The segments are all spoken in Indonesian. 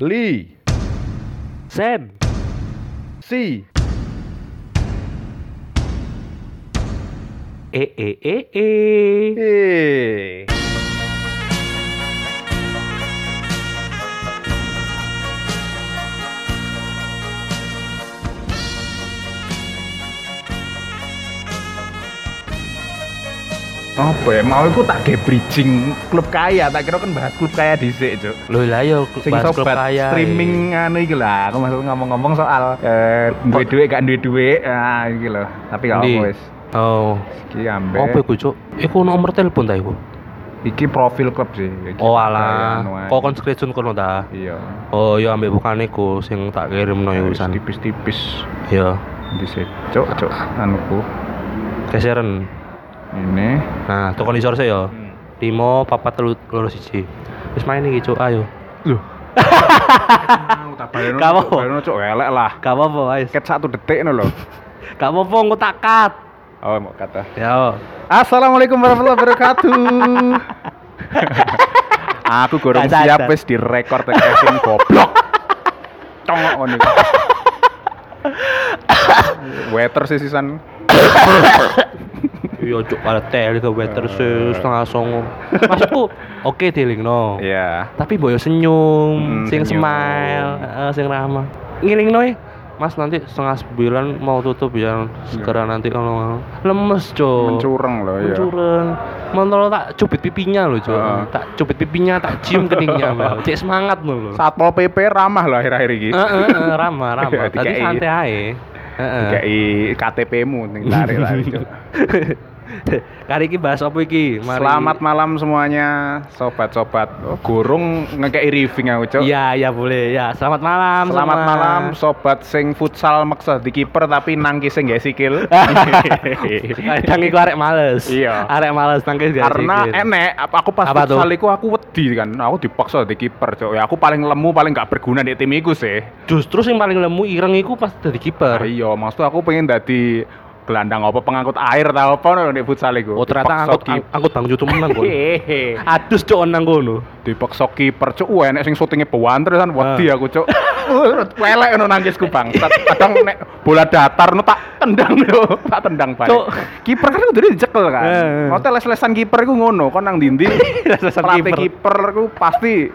Li, Sen, Si, E E E E. E. Apa ya, mau aku tak kayak bridging klub kaya, tak kira kan bahas klub kaya dhisik, Cuk. Lho lah yo sing bahas klub sobat kaya, eh. streaming anu iki lah aku maksud ngomong-ngomong soal eh duwe duit gak duwe duit ah iki lho tapi gak Ndi? apa wis Oh, iki ambe apa iku, Cuk? Iku nomor telepon ta iku? iki profil klub sih iki. Oh Kayak alah, anu ae. kok kon screenshot kono ta? iya Oh, yo ambek bukan iku sing tak kirimno iku Wis pisan. Iya. tipis-tipis Yo, di cok cok anuku keseren. ini Nah, tekan isor se yo. Hmm. Limo, papat telu loro siji. Wis main iki, Cuk. Ayo. lho Mau tak baleno Kamu. tak baleno cok elek lah Gak apa-apa, ayo. ket satu detik no lho Gak apa-apa, Ya. engko tak cut. oh mau kata Yo. Assalamualaikum warahmatullahi wabarakatuh aku gorong Gak sadar. siap wis direkord tek Kevin goblok congok ngono iki. waiter sih sisan Yo Iya, cuk ada teli ke waiter se setengah songo. Maksudku oke dilingno. iya Tapi boyo Hmm, senyum, sing senyum. smile, eh, sing ramah. Ngilingno e. Mas nanti setengah sembilan mau tutup ya Iya. segera nanti kalau lemes cuk. mencureng loh ya Mencureng. Mentolo tak cubit pipinya loh cuk. Ah. Tak cubit pipinya, tak cium keningnya. Mbak. Cek semangat lho. lho. Satpol PP ramah loh akhir-akhir ini Heeh, heeh, ramah, ramah. Tadi Dikei. santai ae. Heeh. kayak KTP mu ning tarik tarik Cuk. Kali ini bahas apa iki? Mari- Selamat malam semuanya sobat-sobat. Oh, Gorong ngekei riffing aku, Cuk. Iya, iya boleh. Ya, selamat malam. Selamat semua. malam sobat sing futsal maksa di kiper tapi nangkisnya nggak sikil. Kadang iku arek males. Iya. Arek males nangkis gak Karena enek apa- aku pas Apa tuh? futsal iku aku wedi kan. Aku dipaksa di kiper, Cuk. Ya aku paling lemu, paling gak berguna di tim iku sih. Justru sing paling lemu ireng iku pas dadi kiper. Iya, maksud aku pengen dadi gelandang apa pengangkut air tau apa no, di futsal iku. Oh, ternyata Dipaksa angkut kiper. angkut Bang Jutu menang kok. Hehehe. Adus cok nang kono. dipaksa kiper cuk wah enek sing syutinge pewanter kan wedi Ah. aku cuk pelek ngono nangisku bang kadang nek bola datar no tak tendang yo tak tendang balik Cuk. kiper kan kudu dicekel kan Eh. mau les-lesan kiper iku ngono kon nang dindi Les-lesan pelatih kiper. kiper ku pasti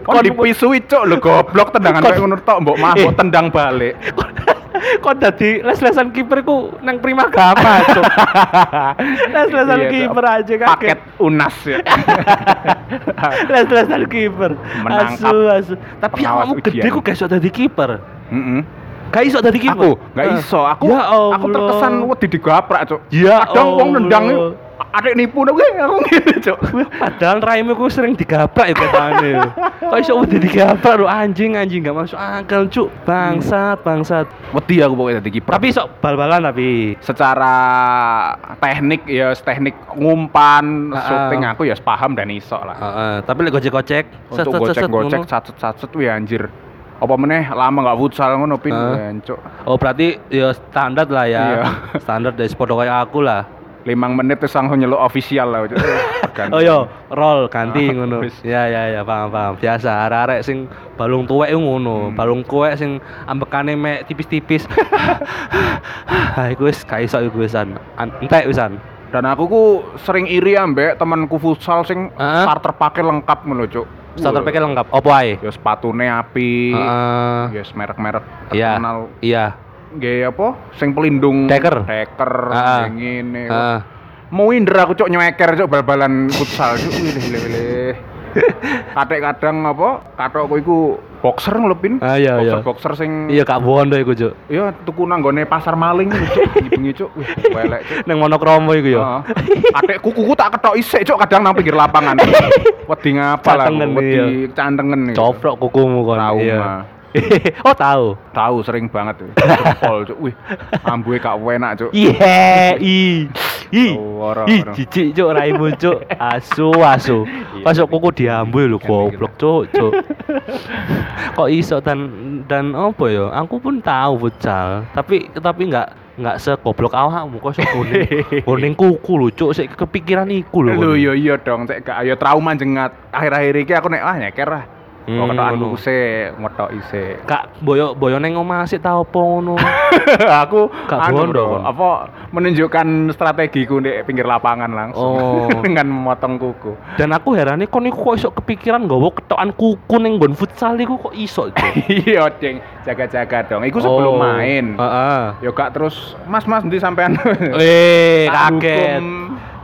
kon Kon- dipisui cuk lho goblok tendangan Kon- koyo ngono tok mbok mah Eh. mbok tendang balik Kok dadi les-lesan kiper ku nang prima gama cok. Les-lesan Iya, Cuk. kiper aja kaget. paket unas ya Les-lesan kiper. Menangkap Asu, asu. Tapi pengawas awakmu gede ujian. ku gak iso dadi kiper. Mm-mm. Gak iso dadi aku kiper. nggak Eh. iso aku Ya aku Allah. terkesan wedi digaprak cuk Ya kadang wong Allah. nendang adik nipu nek aku ngene cuk Padahal raimu ku sering digabrak ya katanya Kok iso udah digabrak lo anjing anjing gak masuk akal cuk Bangsat bangsat wedi aku pokoknya dadi kiper Tapi sok bal-balan tapi secara teknik ya teknik ngumpan Heeh. syuting aku ya paham dan iso lah Tapi lek gocek-gocek set, untuk set, set, set, gocek-gocek ngono. sacet-sacet wih anjir apa meneh lama nggak futsal ngono pin Heeh. Ben, cuk Oh berarti ya standar lah ya Iya. Standar dari sport kayak aku lah limang menit terus langsung nyeluk official lah cuk Ganti. Oh yo roll ganti Ah, ngono wis. Ya ya ya paham paham Biasa arek-arek sing balung tuwek iku Hmm. ngono Balung kuwek sing ambekane mek tipis-tipis Ha iku wis gak iso iku wisan An- Entek wisan dan aku ku sering iri ambek temanku futsal sing Heeh. starter pakai lengkap ngono cuk Starter Wuh. pack lengkap. Opo ae? ya sepatune api Heeh. ya merek-merek Iya. terkenal Iya. gaya apa sing pelindung Deker. deker Ah. sing ngene Heeh. mau inder aku cok nyeker cok bal-balan futsal cok wilih wilih wilih kadek kadang apa katokku iku boxer ngelepin Ah, iya, iya. boxer boxer sing Iya Kak Bondo iku, Cuk. iya tuku nanggone pasar maling cok bengi cok wih welek cok Nang monokromo iku ya. Heeh. Adek kukuku tak ketok isik cok kadang nang pinggir lapangan. Wedi ngapa lah, Cantengen, wedi cantengen. iki. Coprok kukumu kon. Iya. Trauma. oh, tahu. Tahu sering banget. wih. Pol cok. Wih, ambuhe kak enak cok. Iya, i. I. Ora, I ora. jijik cuk raimu cuk. Asu, asu. Iya. Masuk kuku diambul lho Kan mikir. goblok cuk, cuk. Kok iso dan dan opo ya? Aku pun tahu futsal, tapi tapi enggak enggak segoblok awakmu kok sok kuning. Kuning kuku lho cuk, sik kepikiran iku lho. Lho kon. yo iya dong, cek gak ayo trauma jengat. Akhir-akhir iki aku nek ah nyeker lah. Oh, Hmm, ketokan ngono. buku sik, ngetoki sik. Kak boyo boyo neng omah sik ta opo ngono. aku Gak anu, bondo, Bro, kon. apa menunjukkan strategiku di pinggir lapangan langsung Oh. dengan memotong kuku. Dan aku heran nih, kok niku kok iso kepikiran nggawa ketokan kuku neng nggon futsal niku kok iso. Cuk? Iya, Cing. Jaga-jaga dong. Iku sebelum Oh. main. Heeh. Yo gak terus, Mas, Mas, ndi sampean? Eh, Tak kaget. hukum.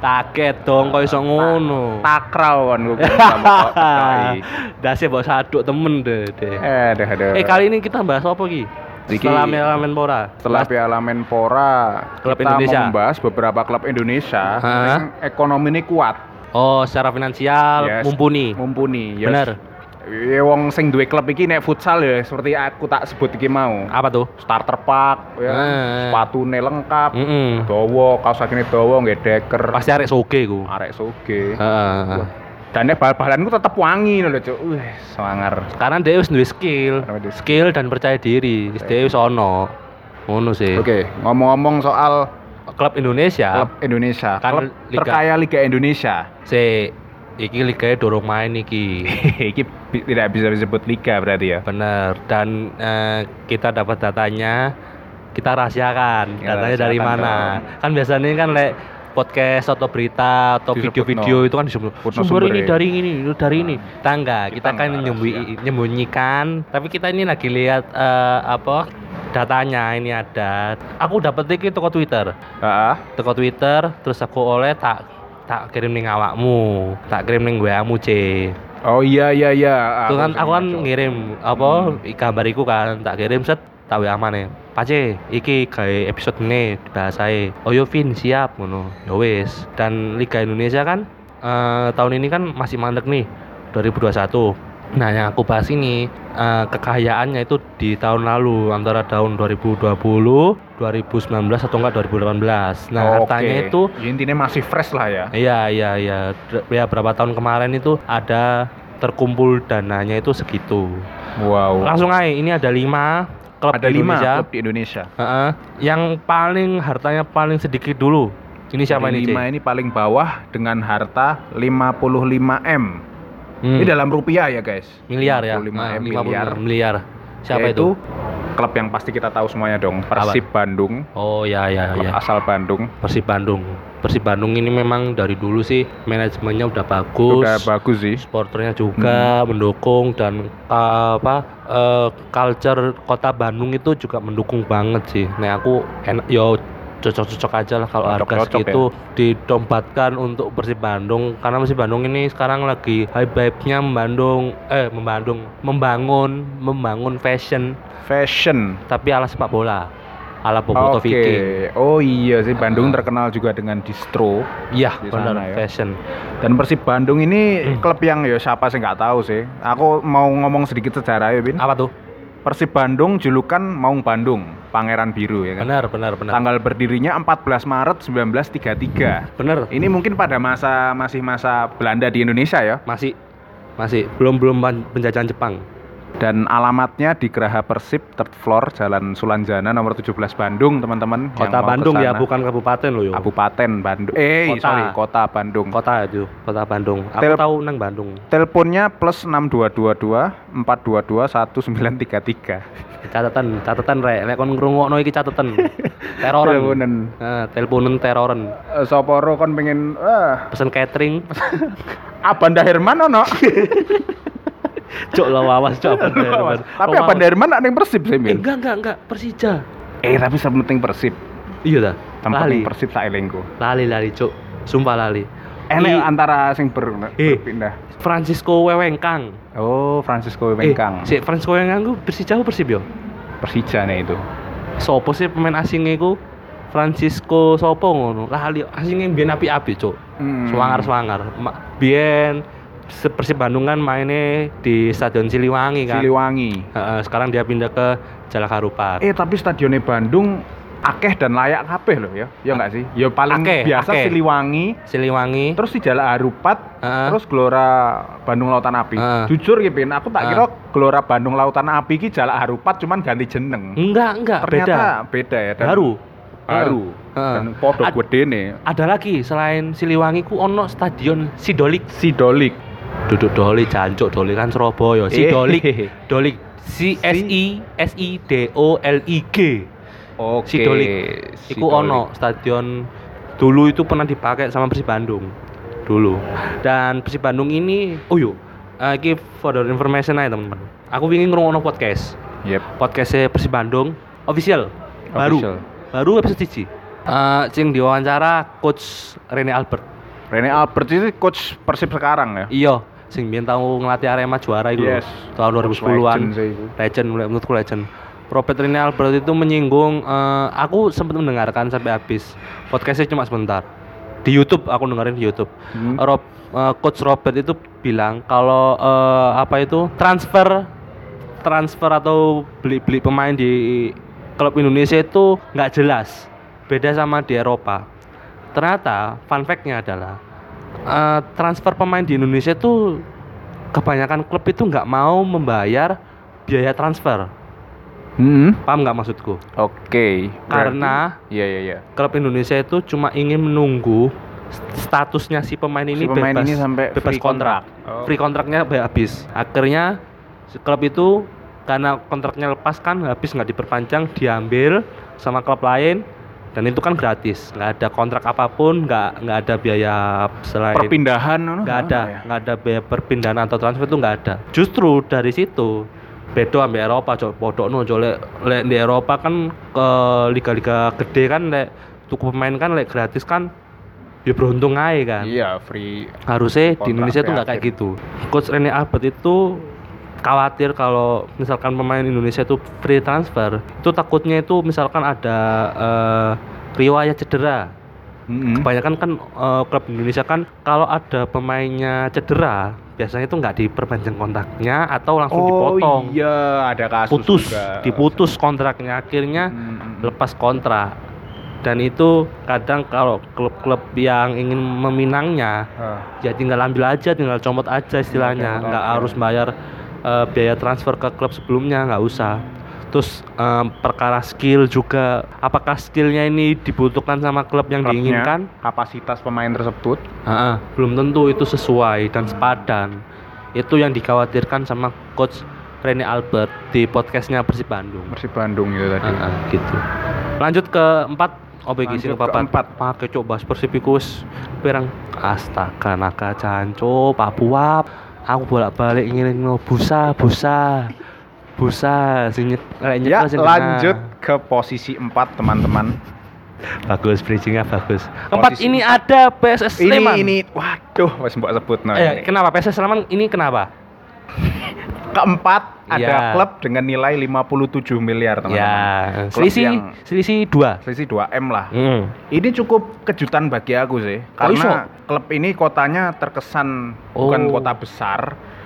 Kaget dong kok iso ngono. Takraw kon kuku. Dasi bawa saduk temen deh. deh. Eh, aduh, aduh. Eh kali ini kita bahas apa ki? Iki- Setelah Piala Menpora. setelah Piala Menpora Klub kita Indonesia. membahas beberapa klub Indonesia Hah? yang ekonomi ini kuat Oh, secara finansial Yes. mumpuni. mumpuni yes. Bener. ya wong sing duwe klub iki nek futsal ya seperti aku tak sebut iki mau Apa tuh? starter pack ya Eh. sepatune lengkap Mm-mm. dawa kaos sakine dawa nggih deker Hmm. Pasti arek soge ku. arek soge Heeh. dan nek bal-balan ku tetep wangi lho cuk wih sangar Karena dia wis duwe skill, Karena dia- skill dan percaya diri. Wis dia wis ono. Ngono sih. oke ngomong-ngomong soal Klub Indonesia klub Indonesia Ya. Kan klub Liga. terkaya Liga Indonesia sih iki ligae dorong main iki. iki bi- tidak bisa disebut liga berarti ya Bener. Dan eh, kita dapat datanya, kita rahasiakan. Kita datanya dari rahasiakan mana? Kan biasanya kan lek podcast atau berita atau Disebut video-video itu kan disebut Sebut no sumber ini sumbernya. Nah, dari ini itu dari ini. Tangga Kita kita, kan nggak nyembunyi- nyembunyikan, tapi kita ini lagi lihat eh, apa datanya ini ada. Aku dapat iki toko Twitter. Heeh. Toko Twitter terus aku oleh tak tak kirim ning awakmu, tak kirim ning gue C. Oh iya iya iya. Aku kan aku kan sering ngaco. ngirim apa gambar iku kan tak kirim set tak WA maneh. ya? Pace iki gawe episode ini dibahas ae. Oh yo Vin siap ngono. Ya wis. Dan Liga Indonesia kan eh, tahun ini kan masih mandek nih 2021. Nah yang aku bahas ini eh, kekayaannya itu di tahun lalu antara tahun 2020, 2019 atau enggak 2018. Nah Oke. katanya itu Ya, intinya masih fresh lah ya. Iya iya iya D- ya berapa tahun kemarin itu ada terkumpul dananya itu segitu. Wow. Langsung aja ini ada lima klub Ada di lima Indonesia. klub di Indonesia. Heeh. yang paling hartanya paling sedikit dulu. Ini siapa Dari ini? Lima Cik? ini paling bawah dengan harta 55 m. Hmm, Ini dalam rupiah ya guys. miliar ya. 55 Nah, m 50 miliar. miliar. Siapa Yaitu itu? Klub yang pasti kita tahu semuanya dong. Persib Bandung. Oh ya ya Klub ya. asal Bandung. Persib Bandung. Persib Bandung ini memang dari dulu sih manajemennya udah bagus. Sudah bagus sih. supporternya juga Hmm. mendukung dan uh, apa uh, culture kota Bandung itu juga mendukung banget sih. Nah aku enak yo cocok-cocok aja lah kalau harga Cocok-cocok ya? segitu didombatkan untuk Persib Bandung karena Persib Bandung ini sekarang lagi hype-hype-nya membandung eh membandung membangun membangun fashion Fashion. tapi ala sepak bola ala Boboto Oke. Viking. Oh iya sih Bandung Ah. terkenal juga dengan distro. Iya, Di benar sana ya. fashion. Dan Persib Bandung ini Hmm. klub yang ya siapa sih nggak tahu sih. Aku mau ngomong sedikit sejarah ya, Bin. Apa tuh? Persib Bandung julukan Maung Bandung, Pangeran Biru ya kan. Benar, benar, benar. Tanggal berdirinya 14 Maret 1933. Benar. Ini mungkin pada masa masih masa Belanda di Indonesia ya. Masih masih belum belum pen- penjajahan Jepang. Dan alamatnya di Geraha Persib, third floor, Jalan Sulanjana nomor 17 Bandung, teman-teman. yang Kota mau Bandung ya, kesana. bukan kabupaten loh yo. Kabupaten Bandung. Eh, Kota. sorry, Kota Bandung. Kota itu, Kota Bandung. Aku Tel- tahu nang Bandung. Teleponnya plus 6222 422 1933. Catatan, catatan rek. Lek kon ngrungokno iki catatan. Teroren. Teleponan. Nah, teleponen teroren. Eh, Soporo kon pengen ah, Pesen catering. Abanda Herman ono. Cok lo awas cok. Awas. Tapi Iya, apa Derman ada yang Persib sih, Eh, Mil? enggak enggak enggak Persija. Eh, tapi sementing Persib. Iya dah. Tempat Lali. Persib tak elingku. Lali lali cok. Sumpah lali. Enak I- antara sing ber, Eh. berpindah. Francisco Wewengkang. Oh, Francisco Eh, Wengkang. si Francisco Wewengkang ku Persija apa Persib yo? Persija nih itu. Sopo sih pemain asingnya ku? Francisco Sopo ngono. Lali asingnya biyen apik-apik cok. Hmm. Swangar-swangar. Ma- Biyen Se- Persib Bandung kan mainnya di Stadion Siliwangi kan. Siliwangi. Heeh, sekarang dia pindah ke Jalak Harupat. Eh, tapi stadionnya Bandung akeh dan layak kabeh loh ya. Ya enggak sih? Ya paling Akeh, biasa akeh. Siliwangi, Siliwangi. terus di Jalan Arupat, Heeh. terus Gelora Bandung Lautan Api. Heeh. Jujur gitu, Bin, aku tak Heeh. kira Gelora Bandung Lautan Api ki Jalan Arupat cuman ganti jeneng. enggak, enggak, Hmm, beda. Ternyata beda ya dan Baru. baru Heeh. dan podo Ad- gede nih Ada lagi selain Siliwangi ku ono Stadion Sidolik. Sidolik duduk doli jancuk doli kan Surabaya si Eh. doli doli si S I S I D O L I G Oke. si dolik iku ono stadion dulu itu pernah dipakai sama Persib Bandung dulu dan Persib Bandung ini oh yuk eh, iki for your information aja teman-teman aku ingin ngrungokno podcast Yep. podcastnya Persib Bandung official baru Official. baru episode siji Eh, cing diwawancara coach Rene Albert Rene Albert itu coach Persib sekarang ya. iya sing biyen tau ngelatih Arema juara itu Yes. tahun Coach 2010-an legend sih itu. legend mulai menurutku legend Robert Rene Albert itu menyinggung eh, aku sempat mendengarkan sampai habis podcastnya cuma sebentar di YouTube aku dengerin di YouTube Hmm. Rob- eh, coach Robert itu bilang kalau eh, apa itu transfer transfer atau beli-beli pemain di klub Indonesia itu nggak jelas beda sama di Eropa ternyata fun fact-nya adalah eh, transfer pemain di Indonesia itu kebanyakan klub itu nggak mau membayar biaya transfer Hmm. paham nggak maksudku Oke. Karena- Berarti- Iya iya iya. klub Indonesia itu cuma ingin menunggu statusnya si pemain Si ini pemain bebas ini sampai bebas free kontrak. kontrak. Oh. Free kontraknya sampai habis. Akhirnya si klub itu karena kontraknya lepas kan habis nggak diperpanjang diambil sama klub lain dan itu kan gratis nggak ada kontrak apapun nggak nggak ada biaya selain Oh. Perpindahan no, no, nggak ada ya? nggak ada biaya perpindahan atau transfer itu nggak ada justru dari situ bedo ambil Eropa cok podok no cok lek lek di Eropa kan ke liga-liga gede kan lek tuku pemain kan lek gratis kan ya beruntung aja kan Iya, free. harusnya di Kontrak Indonesia tuh nggak kayak kreatif. gitu coach Rene Albert itu khawatir kalau misalkan pemain Indonesia itu free transfer itu takutnya itu misalkan ada eh, riwayat cedera Mm-mm. kebanyakan kan eh, klub Indonesia kan kalau ada pemainnya cedera biasanya itu nggak diperpanjang kontraknya atau langsung dipotong Oh iya, ada kasus putus juga. Hmm, diputus kontraknya akhirnya Mm-mm. lepas kontrak dan itu kadang kalau klub-klub yang ingin meminangnya Ah. ya tinggal ambil aja tinggal comot aja istilahnya Oke, nggak oke. harus bayar eh, biaya transfer ke klub sebelumnya nggak usah terus em, perkara skill juga apakah skillnya ini dibutuhkan sama klub yang Klubnya, diinginkan kapasitas pemain tersebut Ah, ah, belum tentu itu sesuai dan sepadan itu yang dikhawatirkan sama coach Rene Albert di podcastnya Persib Bandung Persib Bandung itu tadi. Ah, ah, gitu lanjut ke empat Oh, bagi sing Lanjut ke papat. empat. Pakai coba Persib iku wis pirang astaga naga canco Papua. Aku bolak-balik ngiringno busa, busa. Busa sing nyek lek Ya, nyekel sing kena. lanjut ke posisi 4 teman-teman. Bagus bridgingnya bagus. Empat Posisi- ini ada PSS Ini Sleman. ini waduh wis mbok sebut no. Eh, kenapa PSS Sleman ini kenapa? Keempat ada Iya. klub dengan nilai 57 miliar, teman-teman. Ya, Klub selisih yang- selisih dua. Selisih 2M lah. Hmm. Ini cukup kejutan bagi aku sih. Oh, iso? Karena klub ini kotanya terkesan bukan Oh. kota besar.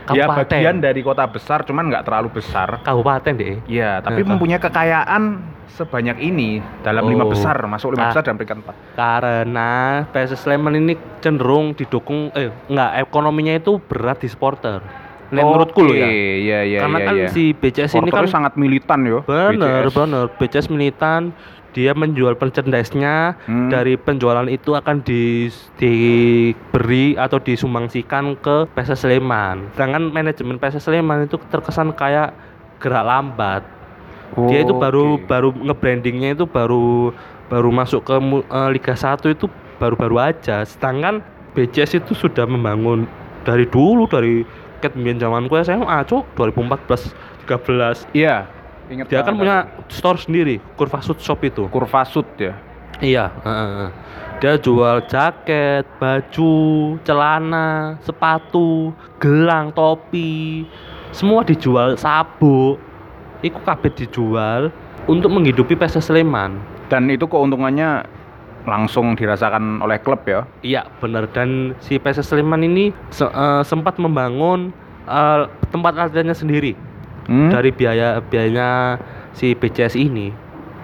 Dia Kabupaten. bagian dari kota besar cuman nggak terlalu besar. Kabupaten deh. Iya, tapi Heeh. mempunyai kekayaan sebanyak ini dalam lima Oh. besar, masuk lima Ah. besar dan peringkat empat. Karena PSS Sleman ini cenderung didukung eh enggak ekonominya itu berat di supporter. Nek menurutku loh ya. Iya, iya, Karena kan si BCS ini kan Portonya sangat militan yo. bener BCS. bener BCS militan dia menjual merchandise-nya Hmm. dari penjualan itu akan di- diberi atau disumbangsikan ke PSS Sleman. Sedangkan manajemen PSS Sleman itu terkesan kayak gerak lambat. dia itu Oh, baru Oke. baru nge-brandingnya itu baru baru masuk ke mu- eh, Liga 1 itu baru-baru aja sedangkan BCS itu sudah membangun dari dulu dari ket mbiyen zamanku SMA cuk 2014 13 Iya. Ingat dia kan banget punya aku. store sendiri Kurva Sud Shop itu kurva sud ya. iya dia jual jaket baju celana sepatu gelang topi semua dijual sabuk itu kabeh dijual untuk menghidupi PSS Sleman Dan itu keuntungannya langsung dirasakan oleh klub ya. Iya benar dan si PSS Sleman ini se- eh, sempat membangun eh, tempat latihannya sendiri Hmm? dari biaya biayanya si BCS ini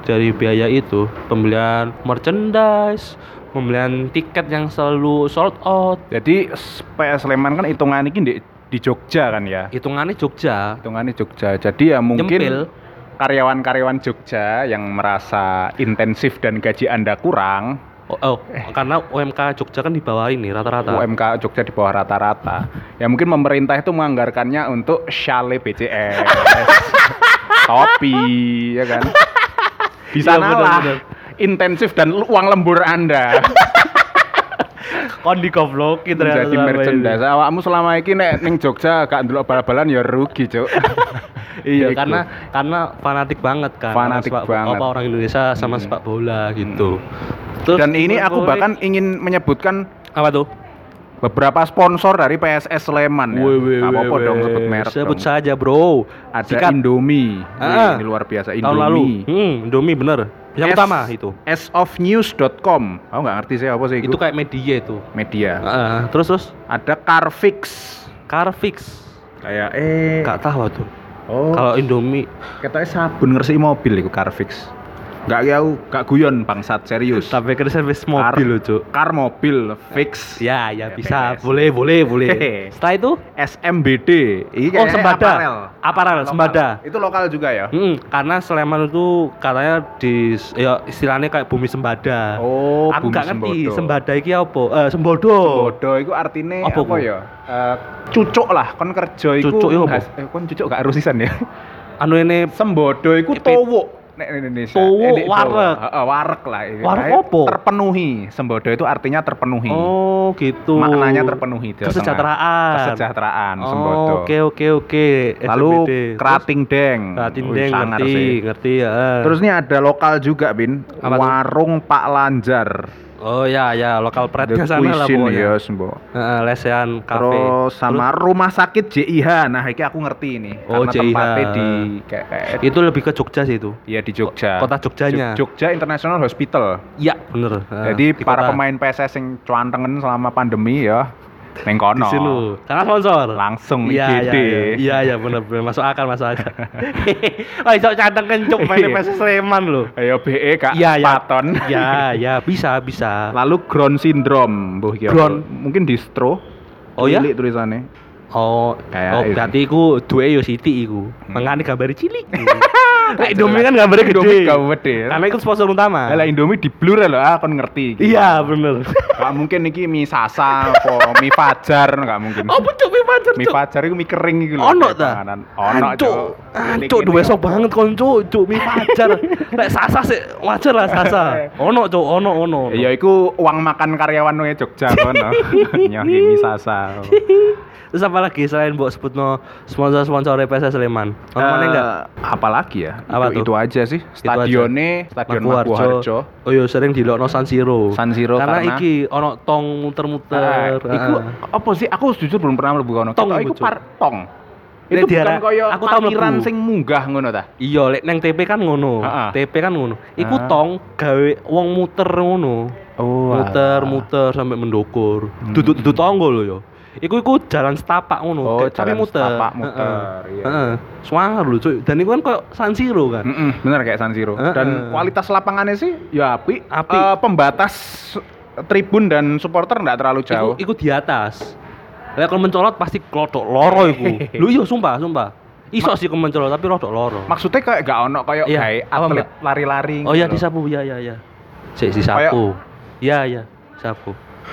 dari biaya itu pembelian merchandise pembelian tiket yang selalu sold out Jadi s- PS Sleman kan hitungan ini di, di Jogja kan ya. hitungannya Jogja Hitungannya Jogja. Jadi ya mungkin Nyempil. karyawan-karyawan Jogja yang merasa intensif dan gaji Anda kurang Oh, oh, karena UMK Jogja kan di bawah ini rata-rata. UMK Jogja di bawah rata-rata. Ya mungkin pemerintah itu menganggarkannya untuk Chalet BCS. Topi, ya kan. Di Iya, sanalah benar-benar. intensif dan lu- uang lembur Anda Kon di goblokin menjadi ternyata selama ini. merchandise. Awakmu selama ini nek ning Jogja gak ndelok bal-balan ya rugi, Cuk. Iya, Iku. karena karena fanatik banget Gitu. kan. Fanatik Orang sepak- banget. Iya. Hmm. Apa orang Indonesia sama sepak bola gitu. Terus dan ini aku menurut- bahkan ingin menyebutkan apa tuh? beberapa sponsor dari PSS Sleman ya. Wih, wih, Gak wih, apa-apa wih. dong sebut merek. Sebut dong. saja, Bro. Ada Sikat. Indomie. Wih, Ah. ini luar biasa Indomie. tahun lalu. Hmm, Indomie bener. Yang S- utama itu. sofnews.com aku nggak ngerti sih apa sih itu Itu kayak media itu. media Heeh, terus terus ada Carfix Carfix. kayak eh Enggak tahu tuh. oh Kalau Indomie katanya sabun ngersi mobil itu Carfix nggak ya aku gak guyon bangsat serius sampai ke servis kan mobil Car- loh, Cuk. car mobil fix Ya, Ya, ya PKS. bisa. Boleh, boleh, boleh. Hehe. Setelah itu, SMBD ini oh kayaknya sembada. aparel. Aparel, Lokal. sembada. itu lokal juga ya Mm, karena Sleman itu katanya di ya istilahnya kayak bumi sembada. oh Aku bumi nggak ngerti Sembodo. sembada iki apa? Eh, sembodo. Bodo itu artinya Apa apa, ku? ya? Eh, cucuk lah, kon kerja itu Cucuk iya, iku apa? eh, kon cucuk gak rusisan ya? Anu ini Sembodo iku Ipit. towuk nek nek Indonesia. Eh, Towuk, nek Jawa. wareg. Heeh, wareg lah. ini. Wareg Kayak opo? Terpenuhi. Sembodo itu artinya terpenuhi. Oh, gitu. Maknanya terpenuhi Jawa Tengah. Kesejahteraan. Kesejahteraan Oh, sembodo. Oke, oke, oke. Eh, Lalu SMBD. kerating deng. Terus Keratin Wih, deng sangar ngerti, sih. ngerti ya. Terus ini ada lokal juga, Bin. Apa tuh? Warung Pak Lanjar. oh ya ya lokal pride The ke sana lah Cuisine, ya. pokoknya. yes, Mbok. Heeh, lesehan kafe. Terus sama rumah sakit JIH. Nah, iki aku ngerti ini. Oh, karena JIH. tempatnya di kayak, kayak Terus, itu lebih ke Jogja sih itu. ya di Jogja. Kota Jogjanya. Jog- Jogja International Hospital. Iya, bener. Heeh, Jadi di para kota. pemain PSS yang cuantengen selama pandemi ya ning kono. di sini karena sponsor Langsung iya iya IGD. iya iya iya bener bener masuk akal masuk akal wah iso cadang kencuk main Iya. PS Sleman loh Ayo BE Kak iya iya Paton. iya iya bisa bisa Lalu Ground Syndrome, mbuh iki apa? Ground. mungkin distro. Oh, ya? tulisannya. oh Kayak oh itu. Hmm. berarti iku duwe yo Siti iku mengani gambar cilik Lah, Nek Indomie kan gambarnya Indomie gede gede. karena itu sponsor utama Lah iya. Indomie di blur lho, ah kon ngerti. iki. iya bener Gak mungkin iki mie sasa apa mie fajar gak mungkin. oh pucuk mie pacar Mie cuk fajar iku mie kering iku lho. ono kayak ta panganan. Ono cuk cuk duwe sok banget kon cuk cuk mie pacar nek sasa sih wajar lah sasa ono cuk ono ono ono. Ya iku uang makan karyawan nang Jogja kono. Nyohi mie sasa. Terus apa lagi selain buat sebutno sponsor-sponsor PSS Sleman? Ono mana Eh, enggak? Apalagi ya? Apa itu, itu tuh? aja sih. Itu aja. Stadione, Stadion Maguwarjo. Oh iya sering dilokno San Siro. San Siro karena, karena- iki ono tong muter-muter. Ah, iku apa sih? Aku jujur belum pernah mlebu kono. Tong, Ketok iku Cuk. par tong. Ini Itu bukan daerah- kaya aku tau parkiran mlebu. sing munggah ngono ta. Iya, lek neng TP kan ngono. Ah, ah. TP kan ngono. Iku Ah. tong gawe wong muter ngono. Oh. Muter-muter sampai mendokur. Hmm. Duduk-duduk tonggo lho yo. Iku iku jalan setapak ngono, Oh, kayak- tapi jalan muter. setapak muter, Heeh. iya. Heeh. Suangar lho, cuy. Dan iku kan koyo San Siro kan. Mm-mm, bener kayak San Siro. Heeh. Dan kualitas lapangannya sih ya api. Api. Eh, pembatas tribun dan supporter nggak terlalu jauh. Iku, iku di atas. Lah kalau mencolot pasti klotok loro iku. Lho iya sumpah, sumpah. Iso sih kalau mencolot tapi rodok loro. Maksudnya kayak gak ono kayak Iya, kayak apa, atlet Mbak? lari-lari. Oh iya gitu loh. disapu, iya iya iya. Sik disapu. Iya iya, sapu.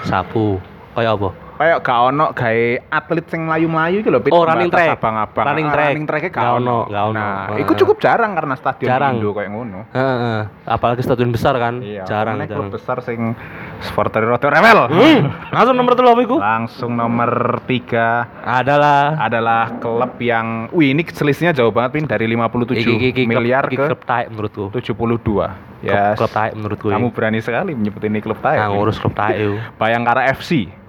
Sapu. Kayak apa? Kayak gak ono kayak atlet sing melayu-melayu gitu loh. Pit, Oh, running pembatas track. Abang-abang. Running Ah, track. Running track gak Gak ono, ono. gak ono. Nah, Heeh. itu cukup jarang karena stadion Jarang. Indo kayak ngono. Heeh. Apalagi stadion besar kan? jarang Karena Iya, klub jarang. besar sing supporter rada rewel. Hmm, langsung nomor telu apa iku? Langsung nomor 3 Adalah adalah klub yang wih ini selisihnya jauh banget pin dari 57 miliar klub, iki ke klub taek menurutku. 72. Klub, Yes. klub taek menurutku. Kamu berani sekali menyebut ini klub nah, Thailand. ngurus klub taek yo. Bayangkara FC.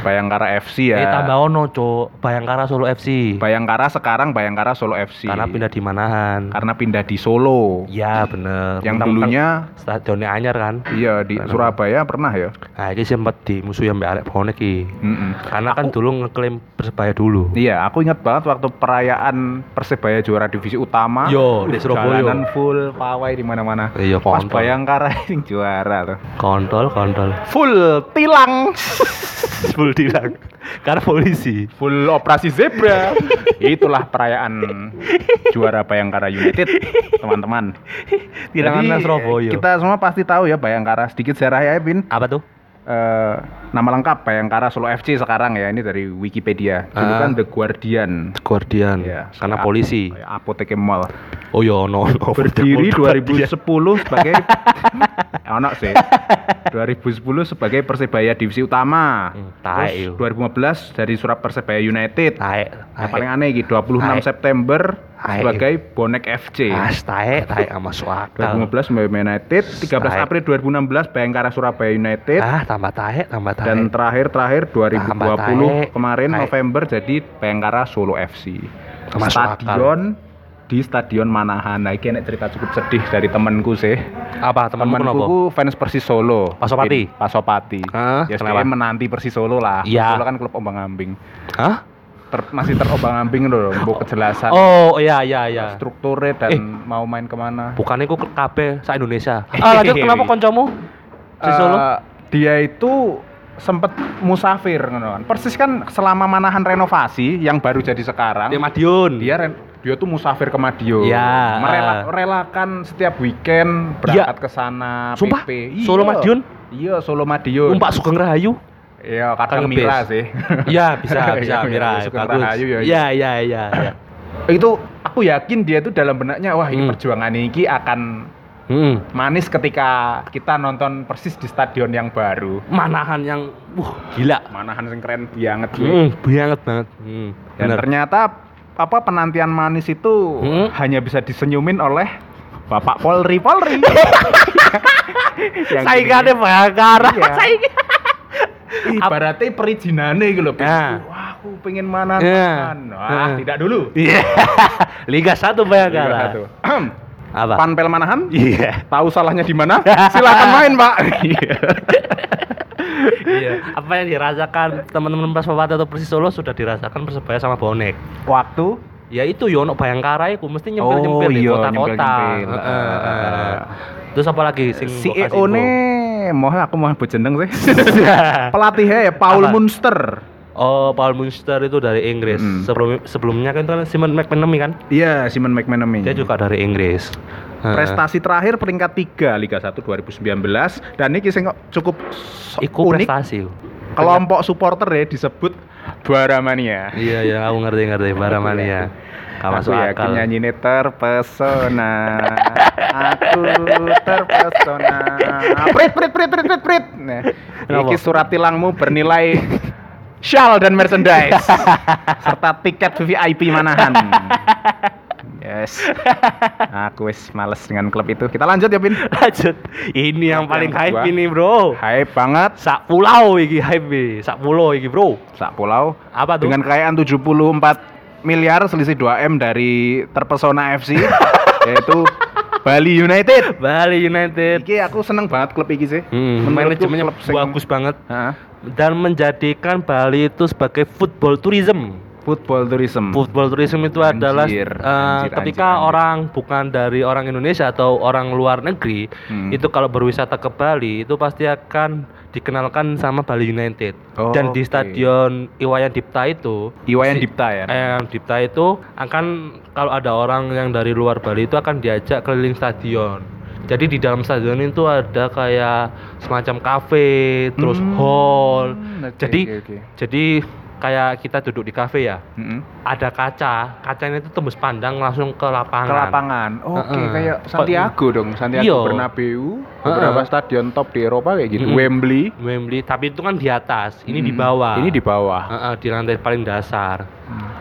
Bayangkara FC Eh ya. tambah ono, Cuk. Bayangkara Solo FC. Bayangkara sekarang Bayangkara Solo FC. Karena pindah di manahan. Hmm. Karena pindah di Solo. Ya bener. Yang Mentang-mentang dulunya stadionnya anyar kan. iya di Surabaya pernah ya. Nah, ini sempat dimusuhi sampai Arek Bonek iki. Mm-mm. Karena kan dulu ngeklaim Persebaya dulu. Iya, aku ingat banget waktu perayaan Persebaya juara divisi utama. Yo, di Surabaya. Jalanan full pawai di mana-mana. Iya, Pas kontol. Bayangkara yang juara tuh. Kontol, kontol. Full tilang. full dilang karena polisi Full operasi zebra. Itulah perayaan juara Bayangkara United, teman-teman. tilangan Jadi, nang Surabaya Kita semua pasti tahu ya Bayangkara sedikit sejarah ya, Bin. apa tuh Eh, nama lengkap Bayangkara Solo FC sekarang ya, ini dari Wikipedia. Dulu Ah. kan The Guardian. Guardian Ya, karena ap- polisi kayak Apoteke Mall. oh yo no, no Berdiri Guardian. 2010 sebagai anak sih. 2010 sebagai Persebaya divisi utama. Hmm, taek Terus yo. 2015 dari Surab Persebaya United. taek Yang paling aneh iki 26 Taek. September Taek. sebagai bonek FC. as taek Ah, taek sama suakal 2015 Bayangkara United, 13 Taek. April 2016 Bayangkara Surabaya United ah tambah taek tambah taek dan terakhir-terakhir 2020 Taek. kemarin Taek. November jadi Bayangkara Solo FC. Masuk akal. Stadion di Stadion Manahan. Nah, ini enek cerita cukup sedih dari temenku sih. apa temanmu kenapa Temenku ku fans Persis Solo. Bin- Pasopati? Pasopati. Hah, ya kenapa? dia menanti Persis Solo lah. Iya. Solo kan klub ombang-ambing. hah Ter- masih terombang-ambing loh, mbok kejelasan oh iya iya iya strukturnya dan Eh. mau main kemana bukan iku ke- kabeh sa Indonesia ah lanjut kenapa koncomu si Eh, Solo dia itu sempet musafir ngono kan. persis kan selama manahan renovasi yang baru jadi sekarang di Madiun dia ren- dia tuh musafir ke Madiun Ya, Merela- ah. Iya. relakan setiap weekend berangkat ke sana Sumpah? PP. Solo Iya. Madiun? iya Solo Madiun numpak Sugeng Rahayu iya kadang Kan Mira ngebase. sih Iya bisa Iya, bisa iya, Mira Sugeng bagus. Rahayu ya, Iya iya iya. iya. itu aku yakin dia tuh dalam benaknya wah ini Hmm. perjuangan ini akan Hmm. manis ketika kita nonton persis di stadion yang baru Manahan yang wah gila. Manahan sing keren banget cuy. Hmm, banget banget. Hmm. Dan Bener. ternyata apa penantian manis itu Hmm. hanya bisa disenyumin oleh Bapak Polri Polri. Yang Saingannya Bayangkara. Iya. Saing- gini, Iya. ibaratnya perizinannya gitu loh. Nah. Wah, aku pengen manahan. Iya. Wah, Nah. tidak dulu. Iya. Liga 1 Liga Bayangkara. satu. Apa? Panpel Manahan? Iya. Tahu salahnya di mana? Silakan main, Pak. Iya. Iya. Apa yang dirasakan teman-teman pas atau Persis Solo sudah dirasakan Persebaya sama Bonek. Waktu Ya itu Yono Bayangkara iku mesti nyempil-nyempil Oh, di iya, kota-kota. nyempil-nyempil. Heeh, Eh, heeh. Terus apa lagi sing mbok kasih info? CEO ne mau aku mau jeneng sih. Pelatihnya ya Paul Iya. Apa? Munster. Oh, Paul Munster itu dari Inggris. Mm. Sebelum sebelumnya kan itu kan Simon McManamy kan? Iya, Simon McManamy. Dia juga dari Inggris. Heeh. Prestasi terakhir peringkat 3 Liga 1 2019 dan ini sing cukup so- Iku unik. prestasi. Kelompok supporter ya disebut Baramania. Iya iya, aku ngerti ngerti Baramania. Gak masuk aku yakin akal. nyanyinya terpesona. aku terpesona. Prit prit prit prit prit prit. Nah, Kenapa? iki surat tilangmu bernilai shawl dan merchandise serta tiket VIP Manahan. Yes. Aku wis males dengan klub itu. Kita lanjut ya, Pin. Lanjut. Ini Yang yang paling kedua. hype ini, Bro. Hype banget. Sak pulau iki hype, iki. sak pulau iki, Bro. Sak pulau Apa tuh? dengan kekayaan 74 miliar selisih 2M dari terpesona FC yaitu Bali United. Bali United. Iki aku seneng banget klub iki sih. Hmm, Menurutku manajemennya klub sing- bagus banget Heeh. dan menjadikan Bali itu sebagai football tourism. Football tourism. Football tourism itu Anjir, adalah Hmm. anjir, eh, anjir, ketika anjir. orang bukan dari orang Indonesia atau orang luar negeri Hmm. itu kalau berwisata ke Bali itu pasti akan dikenalkan sama Bali United Oh, dan di oke. stadion Iwayan Dipta itu Iwayan si- eh, Dipta ya. Iwayan Dipta itu akan kalau ada orang yang dari luar Bali itu akan diajak keliling stadion. Jadi di dalam stadion itu ada kayak semacam kafe, terus Hmm, hall. oke, jadi oke, Hmm. oke. jadi kayak kita duduk di kafe ya Mm-mm. ada kaca, kacanya itu tembus pandang langsung ke lapangan. Ke lapangan. Oke, Heeh. kayak Kok- Santiago dong. Santiago Iya. Bernabeu. Beberapa stadion top di Eropa kayak gitu. Mm-mm. Wembley. Wembley, tapi itu kan di atas, ini di Mm-mm. bawah. Hmm. Ini di bawah. Heeh, di lantai paling dasar.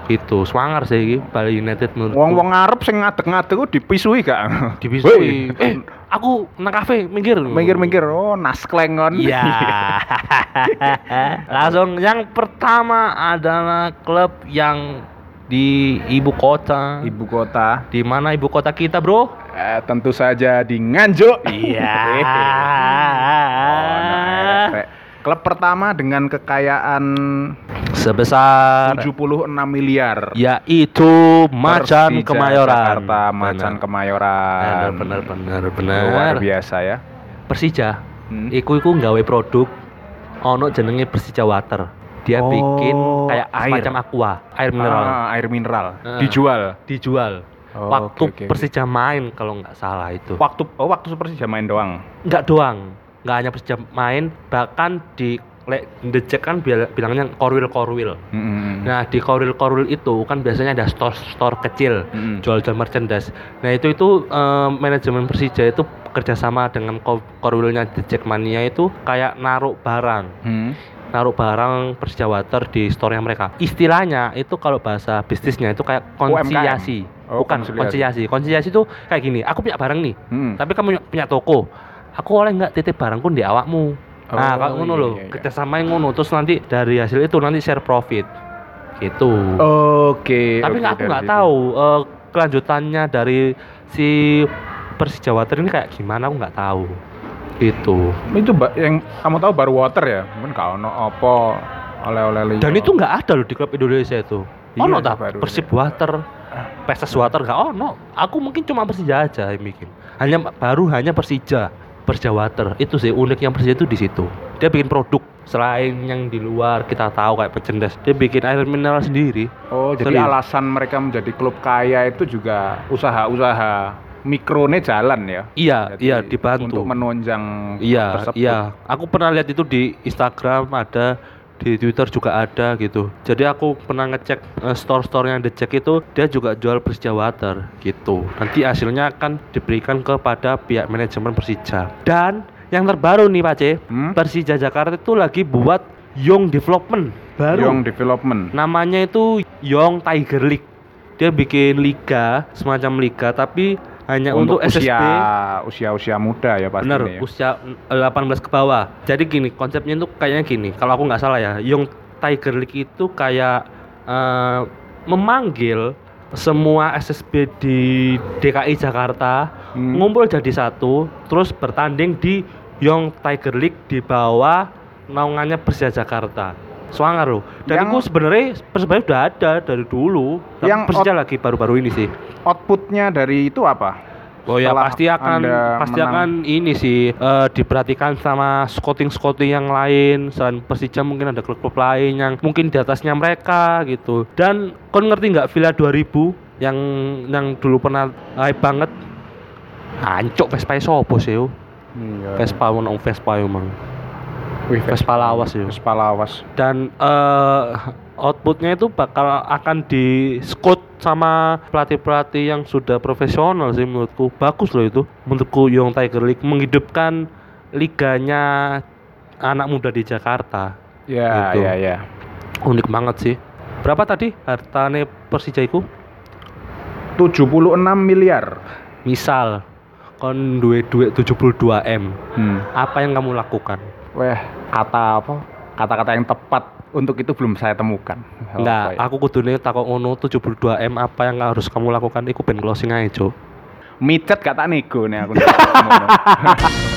Gitu, swanger sih ini Bali United menurut. Wong-wong Arab sing ngadeg-ngadeg ku dipisui gak? dipisui. Woi. Eh, aku nang kafe, minggir. Minggir-minggir, oh nasklengon. Iya. Langsung yang pertama adalah klub yang di ibu kota. Ibu kota. Di mana ibu kota kita, Bro? Eh, tentu saja di Nganjuk. Oh, no, Iya. RFP. Klub pertama dengan kekayaan Sebesar 76 miliar. yaitu Iya, Persija Macan Kemayoran. Jakarta, Macan Benar. Kemayoran. Benar, benar, benar, benar. Luar biasa ya. Persija. Hmm. Iku iku nggawe produk ono jenenge Persija Water. Dia Oh, bikin kayak air. semacam aqua, air mineral Ah, air mineral Ah. dijual. dijual. Oh, waktu oke, oke, oke. Persija main kalau nggak salah itu. waktu oh waktu Persija main doang. nggak doang nggak hanya Persija main bahkan di lek dejek kan bil- bilangnya korwil korwil Hmm. Mm-mm. nah di korwil korwil itu kan biasanya ada store store kecil Mm-mm. jual jual merchandise nah itu itu eh, manajemen Persija itu kerjasama dengan ko- korwilnya dejek mania itu kayak naruh barang Hmm. naruh barang Persija Water di store-nya mereka istilahnya itu kalau bahasa bisnisnya itu kayak UMKM. konsiasi Oh, bukan konsiliasi. konsiasi konsiasi itu kayak gini aku punya barang nih Hmm. tapi kamu punya- punya toko aku oleh nggak titip barangku di awakmu nah Oh, kalau ngono iya, loh iya, iya. kerjasama yang ngono terus nanti dari hasil itu nanti share profit gitu Oke. Oh, iya, oke, tapi nggak- aku dari nggak situ. tahu eh, kelanjutannya dari si Persija Water ini kayak gimana aku nggak tahu gitu Itu ba- yang kamu tahu baru water ya? Mungkin gak ono apa oleh-oleh liyo. dan itu nggak ada loh di klub Indonesia itu Iya, ono itu tak baru Persib lihat. Water Perses Water nggak ono aku mungkin cuma Persija aja yang bikin hanya baru hanya Persija Persija Water itu sih unik yang Persija itu di situ dia bikin produk selain yang di luar kita tahu kayak pecendas dia bikin air mineral sendiri Oh, jadi Serius. alasan mereka menjadi klub kaya itu juga usaha-usaha mikrone jalan ya. iya Jadi iya dibantu Untuk menonjang klub iya tersebut. iya aku pernah lihat itu di Instagram ada di Twitter juga ada gitu jadi aku pernah ngecek eh, store-store yang dicek itu dia juga jual Persija Water gitu nanti hasilnya akan diberikan kepada pihak manajemen Persija dan yang terbaru nih Pak C Hmm? Persija Jakarta itu lagi buat Young Development baru Young Development. namanya itu Young Tiger League dia bikin liga semacam liga tapi hanya Ya, untuk, SSB usia usia-usia muda ya pasti Bener, ini ya. usia 18 ke bawah. Jadi gini, konsepnya itu kayaknya gini. Kalau aku nggak salah ya, Young Tiger League itu kayak eh, memanggil semua SSB di DKI Jakarta Hmm. ngumpul jadi satu, terus bertanding di Young Tiger League di bawah naungannya Persija Jakarta. Swanger loh. Yang- Dan itu sebenarnya persebaya udah ada dari dulu. Tapi Yang Persija lagi baru-baru ini sih. Outputnya dari itu apa? Oh ya Setelah pasti akan Anda pasti menang. akan ini sih eh, diperhatikan sama scouting scouting yang lain selain Persija mungkin ada klub-klub lain yang mungkin di atasnya mereka gitu dan kon ngerti nggak Villa 2000 yang yang dulu pernah hype banget ancok Vespa e sopo sih yo Iya. Vespa ono Vespa yo mang Wih, Vespa lawas yo Vespa lawas. dan eh, outputnya itu bakal akan di scout sama pelatih-pelatih yang sudah profesional sih menurutku bagus loh itu menurutku Young Tiger League menghidupkan liganya anak muda di Jakarta Ya, Gitu. ya, ya. unik banget sih berapa tadi hartane Persija iku 76 miliar. misal kon duwe duit 72 m Hmm. apa yang kamu lakukan Weh, kata apa? Kata-kata yang tepat untuk itu belum saya temukan. Apa Enggak, ya? aku kudune takok ngono 72 m apa yang harus kamu lakukan iku ben closing aja Cuk. micet gak tak nego nih aku.